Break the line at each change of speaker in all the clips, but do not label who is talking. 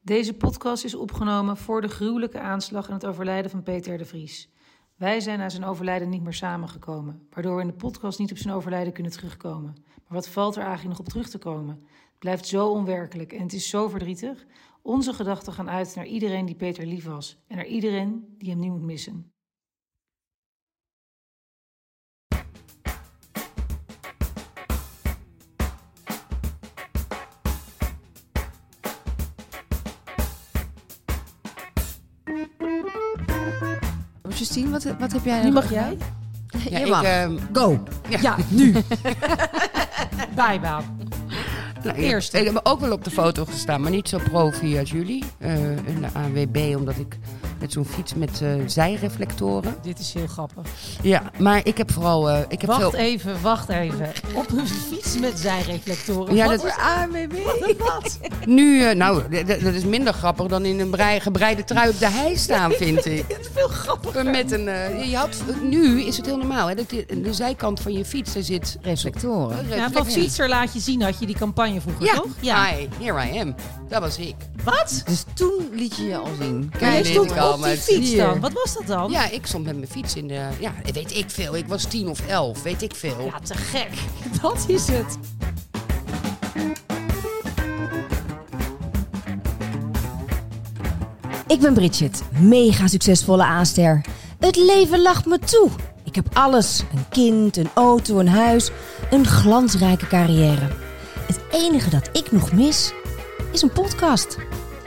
Deze podcast is opgenomen voor de gruwelijke aanslag en het overlijden van Peter R. de Vries. Wij zijn na zijn overlijden niet meer samengekomen, waardoor we in de podcast niet op zijn overlijden kunnen terugkomen. Maar wat valt er eigenlijk nog op terug te komen? Het blijft zo onwerkelijk en het is zo verdrietig. Onze gedachten gaan uit naar iedereen die Peter lief was en naar iedereen die hem nu moet missen.
Justine, wat, wat heb jij
Nu
nog
mag
gedaan?
jij.
Ja,
Jij
ik,
mag.
ehm,
Go.
Ja.
Ja, nu. Bijbaan.
nou,
Eerst.
Ik, ik heb ook wel op de foto gestaan, maar niet zo profi als jullie. eh, in de AWB, omdat ik met zo'n fiets met eh, zijreflectoren.
Dit is heel grappig.
Ja, maar ik heb vooral... eh, ik heb
wacht
veel...
even, wacht even. Op een fiets met zijreflectoren.
Ja,
Wat
dat-
is AMB? Wat?
Nu, eh, nou, d- d- dat is minder grappig dan in een brei, gebreide trui op de hei staan, vind ik.
Dit is veel grappig.
Met een, eh, je had, nu is het heel normaal, hè, dat je- de zijkant van je fiets, daar zit...
reflectoren.
Ja, van fietser laat je zien had je die campagne vroeger,
Ja,
toch?
hi, here I am. Dat was ik.
Wat?
Dus toen liet je je al zien.
Maar jij
dit
stond
ik al,
op
maar
die
het-
fiets dan.
Hier.
Wat was dat dan?
Ja, ik stond met mijn fiets in de... Ja, weet ik veel. Ik was tien of elf, weet ik veel.
Ja, te gek. Dat is het.
Ik ben Bridget, mega succesvolle aanster. Het leven lacht me toe. Ik heb alles: een kind, een auto, een huis, een glansrijke carrière. Het enige dat ik nog mis is een podcast.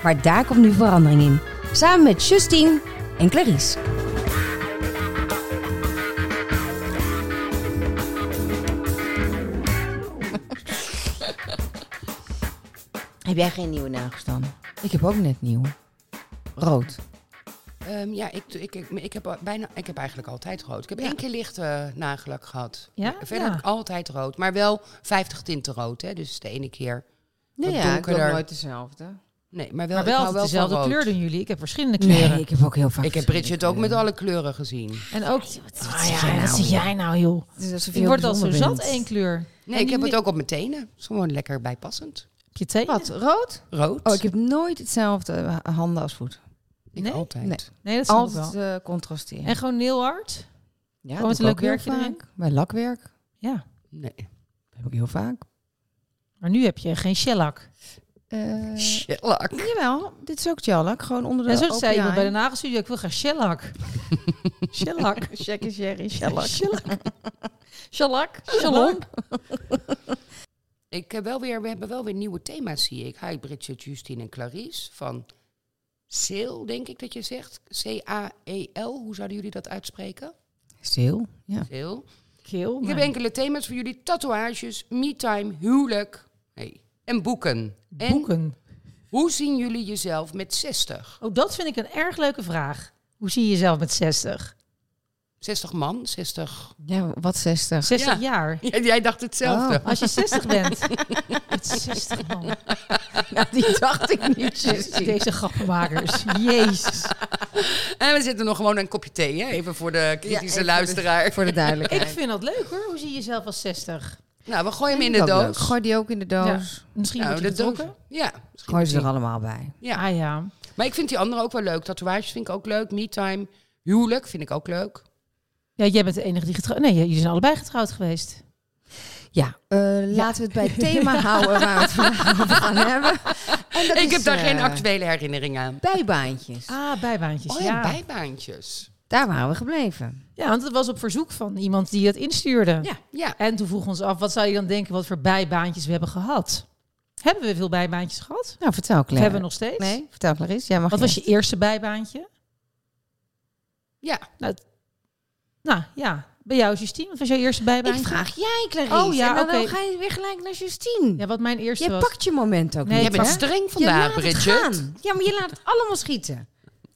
Maar daar komt nu verandering in. Samen met Justine en Clarice.
Heb jij geen nieuwe nagels dan? Ik heb ook net nieuw. Rood.
Ehm, ja, ik, ik, ik, ik heb al- bijna, ik heb eigenlijk altijd rood. Ik heb één keer licht eh, nagelak gehad.
Ja?
Verder
Ja.
heb ik altijd rood. Maar wel 50 tinten rood, hè. Dus de ene keer...
Nee,
Wat
ja, ik
donkerder.
doe nooit dezelfde.
Nee, maar wel,
Maar
ik
wel
hou
altijd
van
dezelfde
rood.
kleur dus- doen jullie. Ik heb verschillende kleuren.
Nee, ik heb ook heel vaak.
Ik heb Bridget ook met alle kleuren gezien.
En ook...
wat
Ah
zeg
ja,
jij
wat
nou
zie
weer?
jij nou, joh?
Het is alsof je
Ik
heel
word al zo
bijzonder
zat,
bent.
één kleur.
Nee,
En
ik heb
die-
het ook op mijn tenen. Dat is gewoon lekker bijpassend.
Op je teen?
Wat, rood?
Rood.
Oh, ik heb nooit hetzelfde eh, handen als voet.
Ik
Nee?
altijd.
Nee.
Nee, dat snap ik wel.
Altijd eh, contrasteren.
En gewoon heel hard.
ja,
gewoon
doe
met
ik
een
ook
leuk
heel
werkje
vaak. Bij lakwerk
Ja.
Nee.
heb ik heel vaak.
Maar nu heb je geen shellak.
Eh,
Shellac.
jawel, dit is ook jellak. Gewoon onder de
En zo
open
zei iemand
eye.
bij de nagelstudio, ik wil graag shellak. shellak.
Jackie Sherry, jellak.
Shellak. Shellak. Shalom.
Ik heb wel weer, we hebben wel weer nieuwe thema's, zie ik. Hi, Bridget, Justine en Clarice van Seel, denk ik dat je zegt. C-A-E-L, hoe zouden jullie dat uitspreken?
Stil, ja.
Seel.
Keel.
Ik heb
maar-
enkele thema's voor jullie. Tatoeages, me-time, huwelijk hey. en boeken. En
Boeken.
hoe zien jullie jezelf met 60?
Oh, dat vind ik een erg leuke vraag. Hoe zie je jezelf met 60?
60 man, 60...
Ja, wat 60.
60
Ja.
jaar.
jij dacht hetzelfde.
Oh.
Als je 60 bent. Met 60 man.
die dacht ik niet,
Deze grappenmakers. Jezus.
En Eh, we zitten nog gewoon een kopje thee, hè? even voor de
Ja,
kritische
even
luisteraar.
Voor de duidelijkheid.
Ik vind dat leuk hoor. Hoe zie je jezelf als 60?
Nou, we gooien hem in de
Vind ik ook
doos.
leuk. Gooi die ook in de doos.
Misschien
nou,
moet je
de doos.
betrokken.
Ja,
Gooi ze er allemaal bij.
Ja.
Ah ja.
Maar ik vind die andere ook wel leuk. Tatoeages vind ik ook leuk. Me-time. Huwelijk vind ik ook leuk.
Ja, jij bent de enige die getrouwd... Nee, jullie zijn allebei getrouwd geweest.
Ja, eh, laten we het bij het thema houden waar we het vandaag over gaan hebben. En dat
ik
is,
heb daar
eh,
geen actuele herinnering aan.
Bijbaantjes.
Ah, bijbaantjes.
Oh ja,
ja.
bijbaantjes.
Daar waren we gebleven.
ja, want het was op verzoek van iemand die het instuurde.
Ja, ja.
En toen vroegen we ons af, wat zou je dan denken wat voor bijbaantjes we hebben gehad? Hebben we veel bijbaantjes gehad?
Nou, vertel
Of
Claire.
hebben we nog steeds?
Nee, vertel Clarice. Jij mag
Wat was je eerste bijbaantje?
ja.
Nou ja, bij jou Justine, wat was jouw eerste
Ik
bijbaantje?
vraag jij, Clarice.
Oh ja,
en dan
oké.
ga je weer gelijk naar Justine.
Ja, wat mijn eerste
Jij
was.
pakt je moment ook
Nee,
Jij
niet,
ik
bent
hè?
streng
Je
vandaag,
laat het
Bridget.
gaan. Ja, maar je laat het allemaal schieten.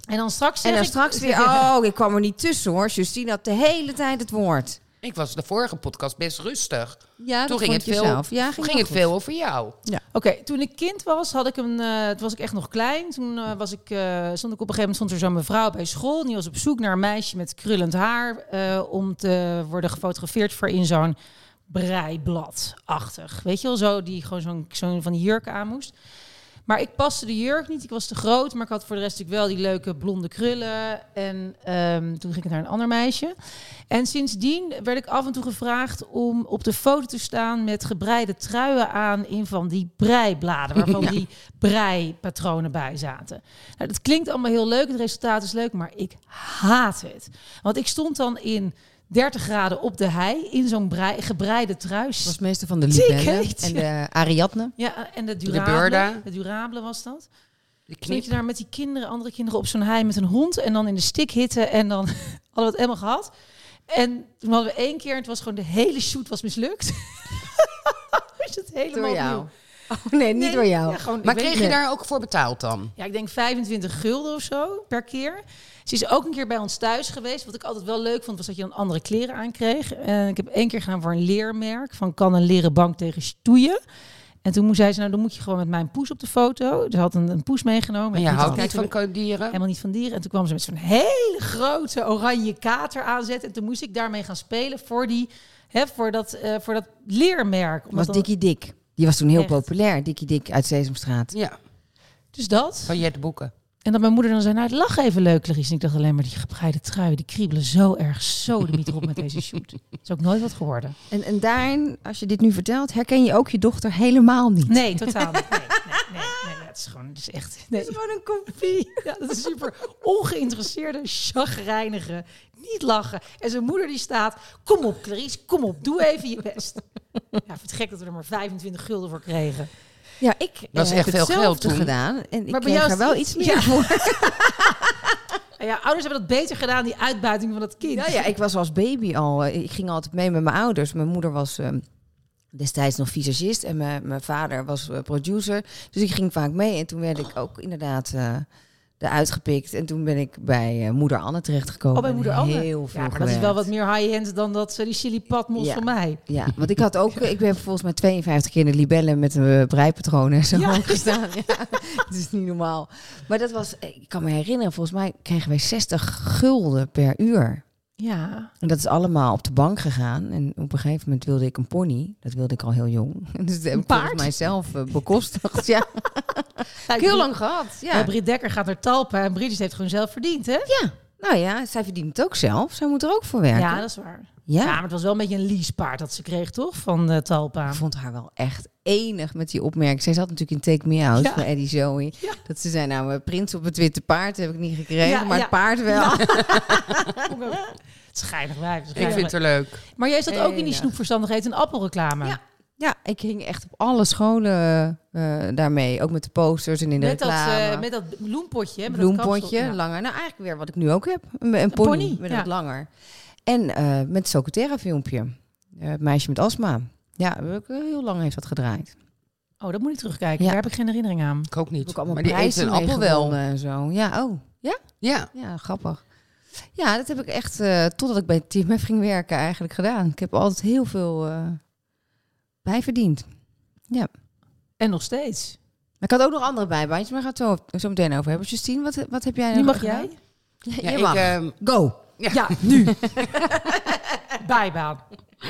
En dan straks zeg
En dan
ik-
straks weer, oh, ik kwam er niet tussen hoor. Justine had de hele tijd het woord.
Ik was de vorige podcast best rustig.
Ja,
Toen
dat
ging
vond
het
je
veel,
zelf. Ja,
ging
wel
het
goed.
veel over jou.
Oké, toen ik kind was, had ik een, eh, toen was ik echt nog klein. Toen eh, was ik, eh, stond ik op een gegeven moment stond er zo'n mevrouw bij school. En die was op zoek naar een meisje met krullend haar. eh, om te worden gefotografeerd voor in zo'n breiblad-achtig. Weet je wel, zo, die gewoon zo'n zo'n van die jurk aan moest. Maar ik paste de jurk niet. Ik was te groot. Maar ik had voor de rest natuurlijk wel die leuke blonde krullen. En ehm, toen ging ik naar een ander meisje. En sindsdien werd ik af en toe gevraagd om op de foto te staan met gebreide truien aan in van die breibladen. Waarvan die breipatronen bij zaten. Nou, dat klinkt allemaal heel leuk. Het resultaat is leuk. Maar ik haat het. Want ik stond dan in 30 graden op de hei in zo'n brei, gebreide trui.
was meester van de
Zie ik
libellen
het?
en de Ariadne.
Ja, en de
De
durable,
Burda.
de durable was dat.
De
Stond
knip.
je daar met die kinderen, andere kinderen op zo'n hei met een hond en dan in de stik hitten en dan hadden we het helemaal gehad. En toen hadden we één keer, en het was gewoon de hele shoot was mislukt. is het helemaal
Door jou.
opnieuw.
Oh nee, niet
Nee,
door jou.
ja, gewoon, ik
Maar
weet
kreeg
niet.
je daar ook voor betaald dan?
Ja, ik denk 25 gulden of zo per keer. Ze is ook een keer bij ons thuis geweest. Wat ik altijd wel leuk vond, was dat je dan andere kleren aankreeg. En ik heb één keer gedaan voor een leermerk. Van kan een leren bank tegen stoeien. En toen moest zij ze, nou dan moet je gewoon met mijn poes op de foto. Ze had een, een poes meegenomen.
Maar
Ik
je
moet
houdt
altijd
niet van
kijken
dieren?
helemaal niet van dieren. En toen kwam ze met zo'n hele grote oranje kater aanzetten. En toen moest ik daarmee gaan spelen voor, die, hè, voor, dat, eh, voor dat leermerk. Omdat
was
dan-
Dikkie Dik. Die was toen heel
Echt.
populair, Dikkie Dik uit Sesamstraat.
Ja,
Dus dat.
van Jet Boeken.
En dat mijn moeder dan zei, nou lach even leuk Clarice. En ik dacht alleen maar, die gebreide trui, die kriebelen zo erg zo de mieter op met deze shoot. Dat is ook nooit wat geworden.
En, en daarin, als je dit nu vertelt, herken je ook je dochter helemaal niet.
Nee, totaal niet. Nee, nee, nee, nee, nee, het is gewoon, het is echt... Nee.
gewoon een kopie.
Ja, dat is super ongeïnteresseerde, chagrijnige, niet lachen. En zijn moeder die staat, kom op Clarice, kom op, doe even je best. Ja, ik vind het gek dat we er maar 25 gulden voor kregen.
Ja, ik eh,
Dat is echt
heb
veel
hetzelfde
geld toen.
gedaan. En ik
bij
kreeg
jou
er
is
wel
het-
iets meer
Ja.
voor.
Nou ja, ouders hebben dat beter gedaan, die uitbuiting van dat kind.
Ja, ja, ik was als baby al. eh, Ik ging altijd mee met mijn ouders. Mijn moeder was ehm, destijds nog visagist en mijn, mijn vader was eh, producer. Dus ik ging vaak mee. En toen werd ik ook inderdaad eh eruit gepikt. En toen ben ik bij eh, moeder Anne terechtgekomen.
Oh, bij moeder
En
Anne.
Heel veel
ja, maar dat is wel wat
gewerkt.
meer high-end dan dat eh, die chili-patmos
Ja.
van mij.
Ja, want ik had ook, ik ben volgens mij 52 keer in de libellen met een breipatronen en zo
Ja.
gestaan. Ja, het is niet normaal. Maar dat was, eh, ik kan me herinneren, volgens mij kregen wij 60 gulden per uur.
Ja.
En dat is allemaal op de bank gegaan. En op een gegeven moment wilde ik een pony. Dat wilde ik al heel jong. Dus dat heb ik volgens
paard?
mij zelf eh, bekostigd. Ja, heb ik heel lang gehad.
Ja.
Ja.
Britt Dekker gaat naar Talpa en Bridget heeft gewoon zelf verdiend, hè?
Nou ja, zij verdient het ook zelf. Zij moet er ook voor werken.
Ja,
Ja,
dat is waar. Ja, maar het was wel een beetje een leasepaard dat ze kreeg, toch? Van eh, Talpa.
Ik vond haar wel echt enig met die opmerking. Zij zat natuurlijk in Take Me Out
Ja.
van Eddie Zoe.
Ja.
Dat ze zei, nou, mijn prins op het witte paard heb ik niet gekregen,
Ja,
maar
ja. Nou,
het paard wel.
Het is geinig wijf. het is
Ik
geinig
vind het leuk.
wijf. Maar jij zat ook in die
Enig.
snoepverstandig eet en appelreclame.
Ja, Ja, ik ging echt op alle scholen eh, daarmee. Ook met de posters en in de
met, dat, eh,
reclame.
met dat bloempotje. hè, Met dat
bloempotje,
kapsel. Ja.
langer. Nou, eigenlijk weer wat ik nu ook heb. Een, een pony,
pony,
met
ja.
wat langer. En eh, met het Socotera filmpje. Eh, het meisje met astma. Ja, heb ik, eh, heel lang heeft dat gedraaid.
Oh, dat moet ik terugkijken.
Ja.
Daar heb ik geen herinnering aan.
Ik ook
Heb
niet.
ik allemaal
Maar die eet
prijzen
een appel wel.
meegewonnen en zo. Ja, oh. Ja?
Ja.
Ja, grappig. Ja, dat heb ik echt, eh, totdat ik bij Team F ging werken, eigenlijk gedaan. Ik heb altijd heel veel eh, bijverdiend.
En nog steeds.
Maar ik had ook nog andere bijbaantjes, maar daar gaan we het zo, zo meteen over hebben. Justine, wat, wat heb jij
Nu
nog
mag
gedaan?
jij.
Ja,
Ja,
je
ik,
mag.
ehm,
Go!
Ja, nu. Bijbaan.
Nou,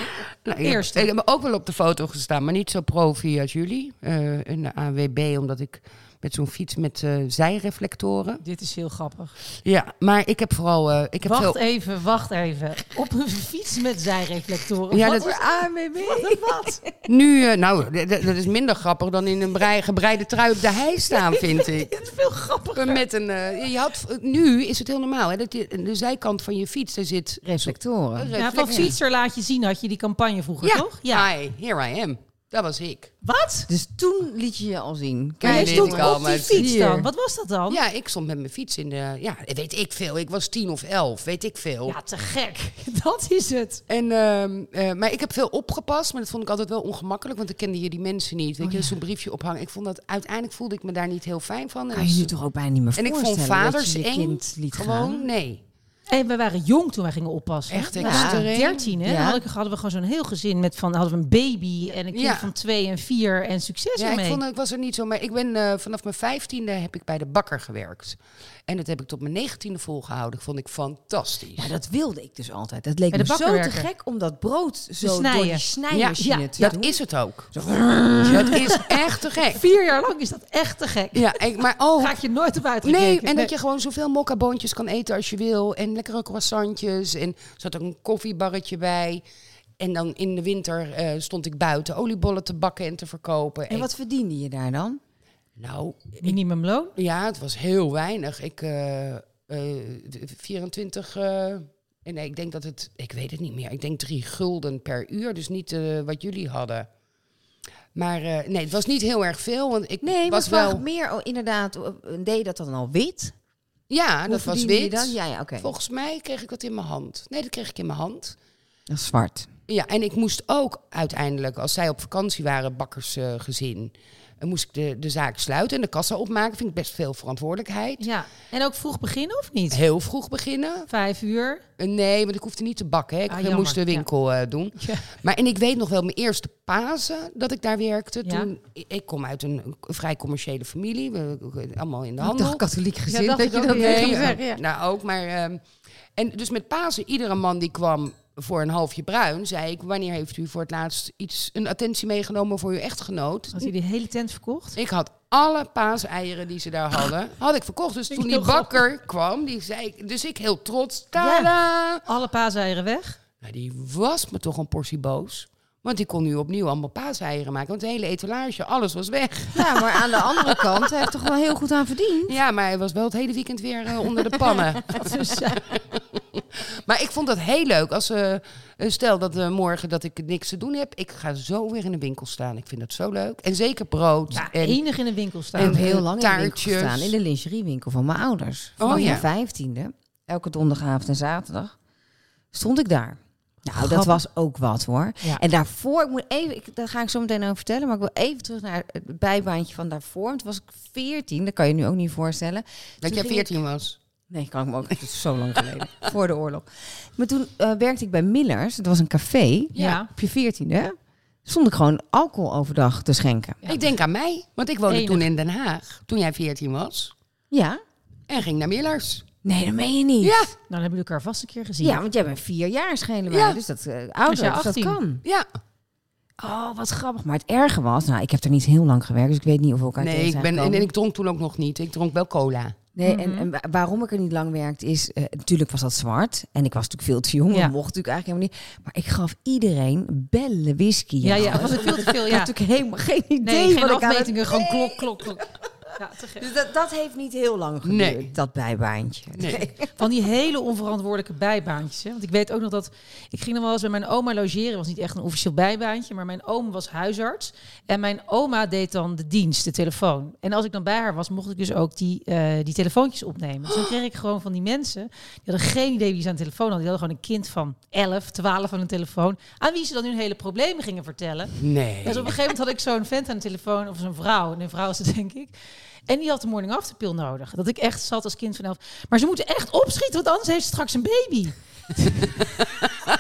ik heb-
Eerst.
Ik heb ook wel op de foto gestaan, maar niet zo profi als jullie. eh, in de ANWB, omdat ik met zo'n fiets met eh, zijreflectoren.
Dit is heel grappig.
Ja, maar ik heb vooral... eh, ik heb
wacht
veel,
even, wacht even. Op een fiets met zijreflectoren.
Ja,
Wat
dat-
is
AMB.
dat? Wat?
Nu, eh, nou, d- d- dat is minder grappig dan in een brei, gebreide trui op de hei staan, vind ik.
Het is veel grappiger.
Met een, eh, je had, nu is het heel normaal, hè, dat je, de zijkant van je fiets, daar zit...
Reflectoren.
Ja, van fietser laat je zien had je die campagne vroeger,
Ja,
toch? Ja.
hi, here I am. Dat was ik.
Wat?
Dus toen liet je je al zien.
Maar jij
dit
stond
kan,
op
maar
die
het
fiets
hier.
dan. Wat was dat dan?
Ja, ik stond met mijn fiets in de... Ja, weet ik veel. Ik was tien of elf, weet ik veel.
Ja, te gek. Dat is het.
En, ehm, eh, maar ik heb veel opgepast, maar dat vond ik altijd wel ongemakkelijk, want ik kende je die mensen niet. Weet je,
Oh
zo'n briefje ophangen. Ik vond dat uiteindelijk voelde ik me daar niet heel fijn van. En
Kan je nu toch ook bijna niet meer
en ik
voorstellen
vond vaders
dat je je
eng.
kind liet
gewoon
gaan?
nee.
En we waren jong toen wij gingen oppassen.
Echt
we
extreem.
waren 13, hè?
Ja.
Dan hadden, hadden we gewoon zo'n heel gezin met van hadden we een baby en een kind
Ja.
van twee en vier en succes
Ja,
ermee.
ik, vond, ik was er niet zo mee. Ik ben eh, vanaf mijn vijftiende heb ik bij de bakker gewerkt. En dat heb ik tot mijn negentiende volgehouden. Dat vond ik fantastisch.
Ja, dat wilde ik dus altijd. Dat leek
Bij
me
de
zo
bakker
te
werken.
gek om dat brood zo door
snijden.
die snijmachine
Ja,
te
dat
doen.
is het ook. Dat is echt te gek.
Vier jaar lang is dat echt te gek.
Ja, ik, maar oh,
Ga ik je nooit op uitrekenen.
Nee, en dat je gewoon zoveel mokkaboontjes kan eten als je wil. En lekkere croissantjes. En er zat ook een koffiebarretje bij. En dan in de winter eh, stond ik buiten oliebollen te bakken en te verkopen.
En wat verdiende je daar dan?
Nou,
Minimumloon.
ja, het was heel weinig. Ik, eh, eh, 24... eh, en nee, ik denk dat het... Ik weet het niet meer. Ik denk drie gulden per uur. Dus niet eh, wat jullie hadden. Maar eh, nee, het was niet heel erg veel. Want ik
Nee,
was
maar vraag
wel...
meer oh, inderdaad, oh, deed je dat dan al wit? Ah,
Ja,
Hoe
dat was
verdiende je
wit.
Dan? Ja, ja, oké.
Volgens mij kreeg ik dat in mijn hand. Nee, dat kreeg ik in mijn hand.
Dat is zwart.
Ja, en ik moest ook uiteindelijk, als zij op vakantie waren, bakkersgezin, en moest ik de, de zaak sluiten en de kassa opmaken. Vind ik best veel verantwoordelijkheid.
Ja. En ook vroeg beginnen of niet?
Heel vroeg beginnen.
Vijf uur.
Eh, Nee, want ik hoefde niet te bakken. Hè. Ik
Ah, jammer.
moest de winkel eh, doen.
Ja.
Maar en ik weet nog wel mijn eerste Pasen dat ik daar werkte.
Ja.
Toen, ik- ik kom uit een een vrij commerciële familie. We, we- allemaal in de handel.
Dag katholiek gezin,
dacht
dat
ik
je
ook,
dat
ja.
weet.
kan
Nee,
ik zeggen,
eh, nou ook, maar... ehm, en dus met Pasen, iedere man die kwam voor een halfje bruin, zei ik... wanneer heeft u voor het laatst iets, een attentie meegenomen voor uw echtgenoot?
Had hij die hele tent verkocht?
Ik had alle paaseieren die ze daar hadden, had ik verkocht. Dus
Vind
toen
ik
die
heel grappig.
bakker kwam, die zei ik... Dus ik heel trots, tada!
Alle paaseieren weg.
Nou, die was me toch een portie boos. Want die kon nu opnieuw allemaal paaseieren maken. Want het hele etalage, alles was weg.
Ja, maar aan de andere kant, hij heeft toch wel heel goed aan verdiend.
Ja, maar hij was wel het hele weekend weer eh, onder de pannen.
Dus, eh,
Maar ik vond dat heel leuk. Als, eh, eh, stel dat eh, morgen dat ik niks te doen heb. Ik ga zo weer in de winkel staan. Ik vind dat zo leuk. En zeker brood.
ja,
en,
enig in een winkel
Ik heb
staan. Nou,
en-
heel lang in de winkel
taartjes.
gestaan. In de lingeriewinkel van mijn ouders. Vanaf
Oh, ja.
mijn vijftiende. Elke donderdagavond en zaterdag stond ik daar. Nou, dat
Grappig.
was ook wat hoor.
Ja.
En daarvoor, ik moet even, ik, daar ga ik zo meteen over vertellen, maar ik wil even terug naar het bijbaantje van daarvoor. Want toen was ik veertien, dat kan je nu ook niet voorstellen.
dat
Toen
jij
ging
14 was.
Nee, kan ik me ook. Het is zo lang geleden. voor de oorlog. Maar toen eh, werkte ik bij Millers. Het was een café.
Ja.
Op je veertiende stond ik gewoon alcohol overdag te schenken.
Ik denk aan mij. Want ik woonde
Enig.
toen in Den Haag. Toen jij 14 was.
Ja?
En ging naar Millers.
Nee, dat meen je niet.
Ja,
Nou, dan hebben jullie elkaar vast een keer gezien.
Ja, want jij bent vier jaar schelen wij.
Ja.
Dus dat eh ouder,
Dus jij
dus dat
18.
kan.
ja.
Oh, wat grappig. Maar het erge was, nou, ik heb er niet heel lang gewerkt, dus ik weet niet of we elkaar
Nee,
tegen
ik
zijn
ben, en,
gekomen.
en ik dronk toen ook nog niet. Ik dronk wel cola.
Nee,
Mhm.
en, en wa- waarom ik er niet lang werkte is, eh, natuurlijk was dat zwart. En ik was natuurlijk veel te jong,
Ja.
dat mocht natuurlijk eigenlijk helemaal niet. Maar ik gaf iedereen bellen whisky.
Ja, ja,
jongens.
was het veel te veel.
Ik
Ja.
had natuurlijk helemaal geen idee
Nee, geen
wat ik aan het-
afmetingen, gewoon klok, klok, klok. Ja, te gek.
Dus dat, dat heeft niet heel lang geduurd,
Nee.
dat bijbaantje.
Nee.
Van die hele onverantwoordelijke bijbaantjes. Hè? Want ik weet ook nog dat... Ik ging nog wel eens bij mijn oma logeren. was niet echt een officieel bijbaantje. Maar mijn oom was huisarts. En mijn oma deed dan de dienst, de telefoon. En als ik dan bij haar was, mocht ik dus ook die, eh, die telefoontjes opnemen. Dus dan kreeg ik gewoon van die mensen... Die hadden geen idee wie ze aan de telefoon hadden. Die hadden gewoon een kind van 11, 12 aan de telefoon. Aan wie ze dan hun hele problemen gingen vertellen. Dus
Nee.
op een gegeven moment had ik zo'n vent aan de telefoon, of zo'n vrouw, en een vrouw is het denk ik. En die had de morning after pill nodig. Dat ik echt zat als kind van elf. Maar ze moeten echt opschieten, want anders heeft ze straks een baby.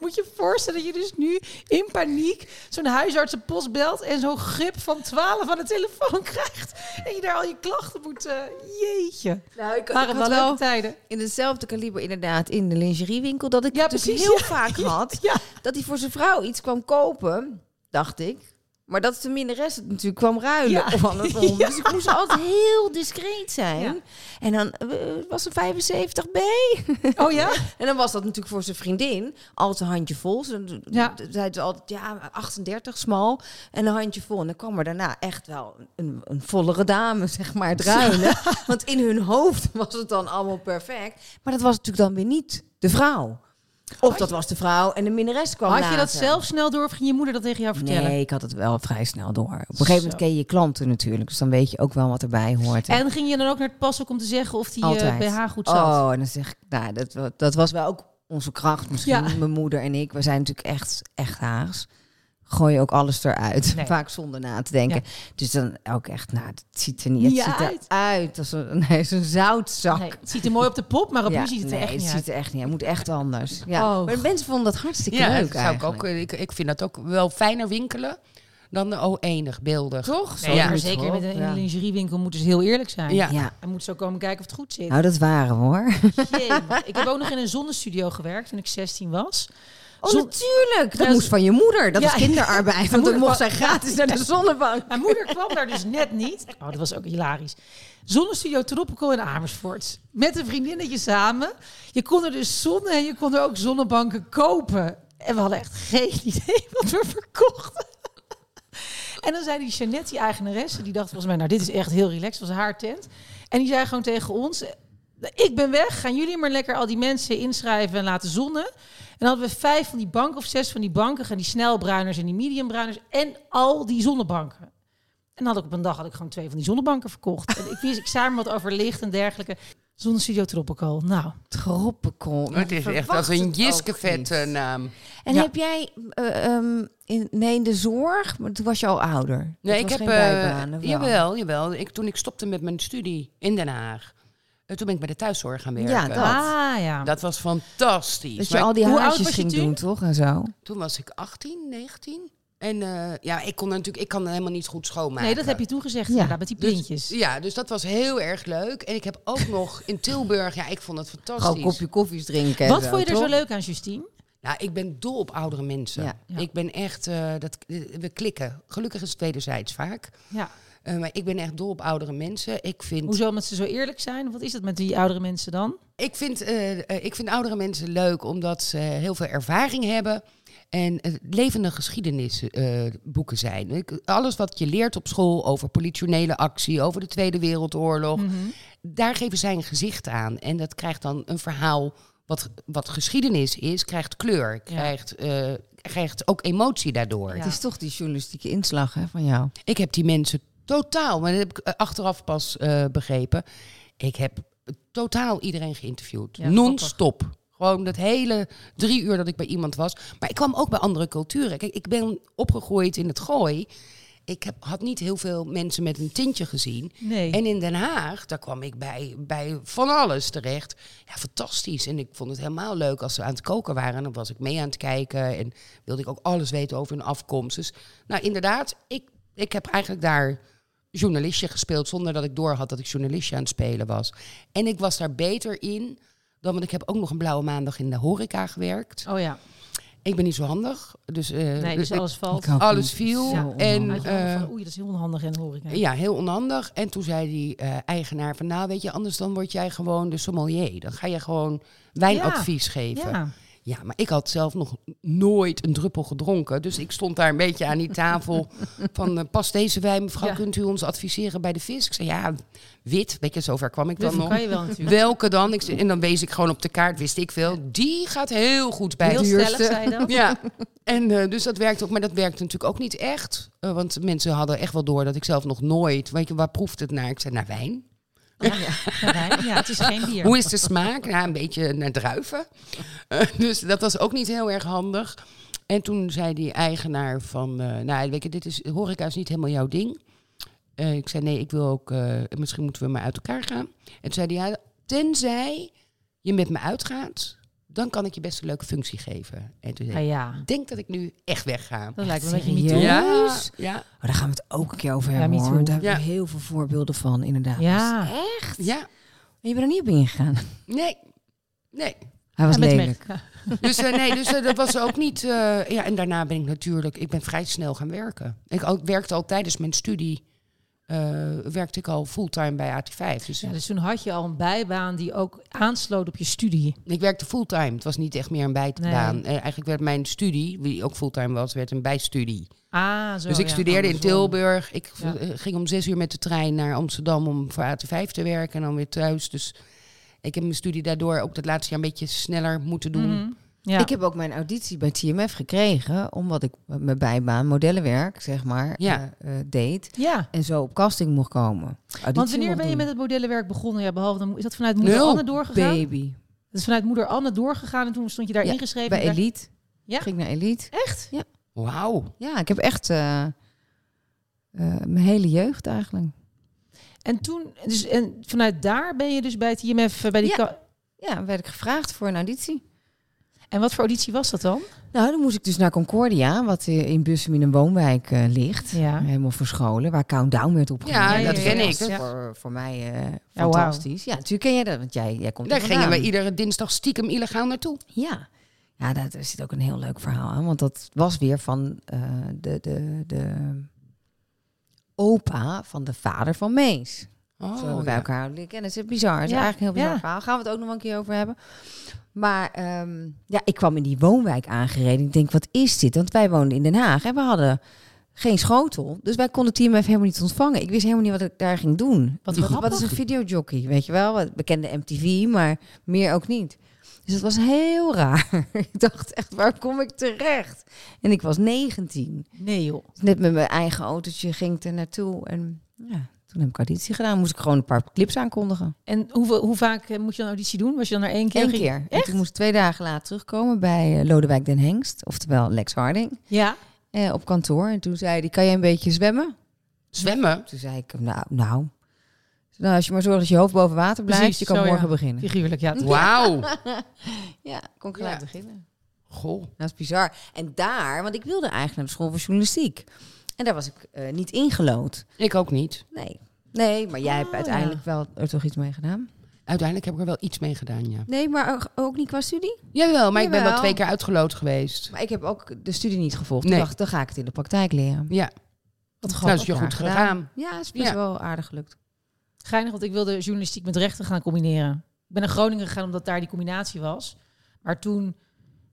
Moet je je voorstellen dat je dus nu in paniek zo'n huisartsenpost belt en zo'n grip van 12 aan de telefoon krijgt. En je daar al je klachten moet. eh, jeetje.
Nou, ik,
Waren wel leuke tijden.
in hetzelfde kaliber inderdaad in de lingeriewinkel. Dat ik
Ja,
het dus
precies,
heel
ja.
vaak had.
Ja.
Dat hij voor zijn vrouw iets kwam kopen, dacht ik. Maar dat de minderes het natuurlijk kwam ruilen.
Ja.
Of andersom. Dus ik moest altijd heel discreet zijn.
Ja.
En dan eh, was er 75B.
Oh ja?
En dan was dat natuurlijk voor zijn vriendin altijd een handje vol. Ze
Ja.
zei ze altijd, ja, 38 smal en een handje vol. En dan kwam er daarna echt wel een, een vollere dame, zeg maar, druilen. Want in hun hoofd was het dan allemaal perfect. Maar dat was natuurlijk dan weer niet de vrouw. Of dat was de vrouw en de minnares kwam
Had je dat
later.
zelf snel door of ging je moeder dat tegen jou vertellen?
Nee, ik had het wel vrij snel door. Op een gegeven moment
Zo.
ken je je klanten natuurlijk. Dus dan weet je ook wel wat erbij hoort.
En ging je dan ook naar het pas om te zeggen of die eh, BH goed zat?
Oh, en dan zeg ik, nou, dat, wa- dat was wel ook onze kracht misschien,
Ja.
mijn moeder en ik. We zijn natuurlijk echt, echt Haags. gooi je ook alles eruit.
Nee.
Vaak zonder na te denken. Dus dan ook echt, nou, het ziet er niet,
Niet
het ziet
uit.
eruit als een, nee, zo'n zoutzak.
Nee, het ziet er mooi op de pop, maar op
Ja,
nu ziet het er
nee,
echt niet
het
uit.
ziet er echt niet uit. Het moet echt anders. Ja.
Oh.
Maar mensen vonden dat hartstikke
Ja,
leuk
dat zou ik,
eigenlijk.
ook, ik, ik vind dat ook wel fijner winkelen dan de O-enig beeldig.
Toch?
Nee,
Ja.
maar zeker met een, in een
Ja.
lingeriewinkel moeten ze heel eerlijk zijn.
Ja.
Ja.
En moeten ze ook komen kijken of het goed zit.
Nou, dat waren we, hoor.
Jemig. Ik heb ook nog in een zonnestudio gewerkt toen ik 16 was.
Oh,
Zon-
natuurlijk. Dat
Ja,
moest van je moeder. Dat
Ja.
is kinderarbeid. Want dan
moeder
mocht
kwam-
zij gratis naar de zonnebank.
Mijn moeder kwam daar dus net niet. Oh, dat was ook hilarisch. Zonnestudio Tropical in Amersfoort. Met een vriendinnetje samen. Je kon er dus zonne en je kon er ook zonnebanken kopen. En we hadden echt geen idee wat we verkochten. En dan zei die Jeannette, die eigenaresse, die dacht volgens mij, nou dit is echt heel relaxed, was haar tent. En die zei gewoon tegen ons, ik ben weg, gaan jullie maar lekker al die mensen inschrijven en laten zonnen. En dan hadden we vijf van die banken of zes van die banken, gaan die snelbruiners en die mediumbruiners en al die zonnebanken. En dan had ik op een dag had ik gewoon twee van die zonnebanken verkocht. En ik wist, ik zei maar wat over licht en dergelijke. Zonnestudio Tropical. Nou,
Tropical.
Het is echt als een Jiskevet eh, naam.
En
Ja.
heb jij eh, ehm, in, nee, in de zorg, maar toen was je al ouder. Dat
Nee, ik
was
heb.
geen
eh,
bijbaan, of wel?
jawel, jawel. Ik, toen ik stopte met mijn studie in Den Haag, eh, toen ben ik bij de thuiszorg gaan werken.
Ja, dat.
ah ja.
Dat was fantastisch.
Dat je
Maar
al die
Hoe oud
huisjes
was je
ging
toen?
doen, toch? En zo.
Toen was ik 18, 19. En eh, ja, ik kon natuurlijk, ik kan helemaal niet goed schoonmaken.
nee, dat heb je toen gezegd.
Ja.
Ja, met die plintjes.
Dus, ja, dus dat was heel erg leuk. En ik heb ook nog in Tilburg, ja, ik vond het
Gewoon
fantastisch.
een kopje koffies drinken. en
wat vond je er
toch?
zo leuk aan, Justine?
Ja, Nou, ik ben dol op oudere mensen.
Ja.
Ja.
Ik ben echt, eh, dat, we klikken. Gelukkig is het wederzijds vaak.
Ja.
Eh, maar ik ben echt dol op oudere mensen. Ik vind
Hoezo omdat ze zo eerlijk zijn? Wat is dat met die oudere mensen dan?
Ik vind, eh, eh, ik vind oudere mensen leuk omdat ze heel veel ervaring hebben. En eh, levende geschiedenisboeken zijn. Ik- alles wat je leert op school over politionele actie, over de Tweede
Hm.
Wereldoorlog.
Mhm.
Daar geven zij een gezicht aan. En dat krijgt dan een verhaal. Wat, wat geschiedenis is, krijgt kleur. Krijgt, eh, krijgt ook emotie daardoor.
Het is toch die journalistieke inslag hè, van jou.
Ik heb die mensen totaal, maar dat heb ik eh, achteraf pas eh, begrepen. Ik heb totaal iedereen geïnterviewd.
Ja,
Non-stop. Gewoon dat hele drie uur dat ik bij iemand was. Maar ik kwam ook bij andere culturen. Kijk, ik ben opgegroeid in het gooi. Ik heb, had niet heel veel mensen met een tintje gezien.
Nee.
En in Den Haag, daar kwam ik bij, bij van alles terecht. Ja, fantastisch. En ik vond het helemaal leuk als ze aan het koken waren. Dan was ik mee aan het kijken. En wilde ik ook alles weten over hun afkomst. Dus nou, inderdaad, ik, ik heb eigenlijk daar journalistje gespeeld... zonder dat ik doorhad dat ik journalistje aan het spelen was. En ik was daar beter in dan... want ik heb ook nog een blauwe maandag in de horeca gewerkt.
Oh ja.
Ik ben niet zo handig, dus... eh,
Nee, dus
ik-
alles valt.
Ik ook
alles
niet.
viel.
Zo
en
Uit je
eh,
handen van, Oei, dat is heel onhandig en horeca.
ja, heel onhandig. En toen zei die eh, eigenaar van, nou weet je, anders dan word jij gewoon de sommelier. Dan ga je gewoon wijnadvies geven. Ja.
Ja.
maar ik had zelf nog nooit een druppel gedronken. Dus ik stond daar een beetje aan die tafel van, eh, past deze wijn, mevrouw,
Ja.
kunt u ons adviseren bij de vis? Ik zei, ja, wit. Weet je, zover kwam ik dan
Dat
nog.
kan je wel natuurlijk.
Welke dan? Ik, zei- en dan wees ik gewoon op de kaart, wist ik veel. Die gaat heel goed bij
Heel
de
stellig zei je dat.
ja, en eh, dus dat werkt ook. Maar dat werkte natuurlijk ook niet echt. Eh, want mensen hadden echt wel door dat ik zelf nog nooit... Weet je, waar proeft het naar? Ik zei, naar wijn.
Ja, ja. wijn. ja, het is geen bier.
Hoe is de smaak? Nou, een beetje naar druiven. Eh, dus dat was ook niet heel erg handig. En toen zei die eigenaar van... eh, nou, weet je, dit is, horeca is niet helemaal jouw ding. Eh, ik zei, nee, ik wil ook... eh, misschien moeten we maar uit elkaar gaan. En toen zei hij, ja, tenzij je met me uitgaat... dan kan ik je best een leuke functie geven. En toen
Ja,
zei ik,
ja.
denk dat ik nu echt wegga.
Dat lijkt me een beetje
serieus?
niet
Ja, ja,
Oh, daar gaan we het ook een keer over
Ja,
hebben,
me
hoor.
too.
Daar hebben we
Ja.
heel veel voorbeelden van, inderdaad.
Ja.
ja.
En je bent er niet op ingegaan.
Nee. Nee.
Hij was
Ja, met
lelijk.
Meg. Ja.
Dus, eh, nee, dus eh, dat was ook niet. eh, ja, en daarna ben ik natuurlijk. Ik ben vrij snel gaan werken. Ik ook, werkte al tijdens mijn studie. eh, werkte ik al fulltime bij AT5. Dus
Ja, dus toen had je al een bijbaan die ook aansloot op je studie.
ik werkte fulltime. Het was niet echt meer een bijbaan. Eh, eigenlijk werd mijn studie, die ook fulltime was, werd een bijstudie.
Ah, zo.
dus ik
ja,
studeerde in
andersom.
Tilburg. Ik
Ja.
eh, ging om zes uur met de trein naar Amsterdam om voor AT5 te werken en dan weer thuis. Dus ik heb mijn studie daardoor ook dat laatste jaar een beetje sneller moeten doen.
Mhm. Ja.
Ik heb ook mijn auditie bij TMF gekregen, omdat ik met mijn bijbaan modellenwerk, zeg maar,
Ja.
eh, eh, deed.
ja.
En zo op casting mocht komen. Auditie
Want wanneer
mocht
ben je met
doen.
het modellenwerk begonnen? Ja, behalve dan is dat vanuit moeder
Nul,
Anne doorgegaan?
Baby.
Dat is vanuit moeder Anne doorgegaan en toen stond je daar
Ja,
ingeschreven.
Bij
en daar-
Elite.
Ja.
Ging naar Elite.
Echt?
Ja.
Wauw.
Ja, ik heb echt eh, eh, mijn hele jeugd eigenlijk.
En toen, dus, en vanuit daar ben je dus bij het IMF, eh, bij die
Ja.
ka-
Ja, werd ik gevraagd voor een auditie.
En wat voor auditie was dat dan?
Nou, dan moest ik dus naar Concordia, wat eh, in Bussum in een woonwijk eh, ligt.
Ja.
Helemaal verscholen, waar Countdown werd opgenomen.
Ja,
Ja,
dat
ja,
ken
ja.
ik.
Ja.
Voor, voor mij eh,
wauw.
fantastisch. Ja, natuurlijk ken jij dat, want jij, jij komt
Daar
er
gingen we
vandaan.
iedere dinsdag stiekem illegaal naartoe.
Ja, ja daar, daar zit ook een heel leuk verhaal aan. Want dat was weer van eh, de, de, de opa van de vader van Mees.
Oh,
Zo hebben we bij
ja.
elkaar leren kennen. Dat is bizar. Dat is
Ja,
eigenlijk een heel bizar
ja.
verhaal. Gaan we het ook nog wel een keer over hebben. Maar ehm, ja, ik kwam in die woonwijk aangereden. Ik denk, wat is dit? Want wij woonden in Den Haag en we hadden geen schotel. Dus wij konden het team even helemaal niet ontvangen. Ik wist helemaal niet wat ik daar ging doen.
Wat
Die-
grappig.
wat is een videojockey, weet je wel? Wat Bekende MTV, maar meer ook niet. Dus dat was heel raar. ik dacht echt, waar kom ik terecht? En ik was 19.
Nee joh.
Dus net met mijn eigen autootje ging ik er naartoe. En ja, toen heb ik auditie gedaan. Moest ik gewoon een paar clips aankondigen.
En hoe, hoe vaak eh, moet je dan auditie doen? Was je dan er één keer?
Eén
Ging-
keer. En toen moest ik twee dagen later terugkomen bij eh, Lodewijk den Hengst. Oftewel Lex Harding.
Ja.
eh, op kantoor. En toen zei hij, kan jij een beetje zwemmen?
Zwemmen.
Toen zei ik, nou, nou. Nou, als je maar zorgt dat je hoofd boven water blijft,
Precies,
je kan
zo, ja.
morgen beginnen.
Figuurlijk,
Hm.
ja.
Wauw.
Ja, kon ik gelijk
Ja.
beginnen.
Goh.
Dat is bizar. En daar, want ik wilde eigenlijk naar de school voor journalistiek. En daar was ik eh, niet ingelood.
Ik ook niet.
Nee. Nee, maar jij hebt
Ah,
uiteindelijk wel er toch iets mee gedaan?
Uiteindelijk heb ik er wel iets mee gedaan, ja.
Nee, maar ook- ook niet qua studie?
Jawel, maar ik ben wel
Jawel.
twee keer uitgeloot gedacht,
Maar ik heb ook de studie niet gevolgd.
Nee.
Ik dacht, dan ga ik het in de praktijk leren.
Ja.
Wat grappig.
Nou, is je goed
Ja,
gegaan.
Ja, is best
Ja.
wel aardig gelukt.
Geinig, want ik wilde journalistiek met rechten gaan combineren. Ik ben naar Groningen gegaan omdat daar die combinatie was. Maar toen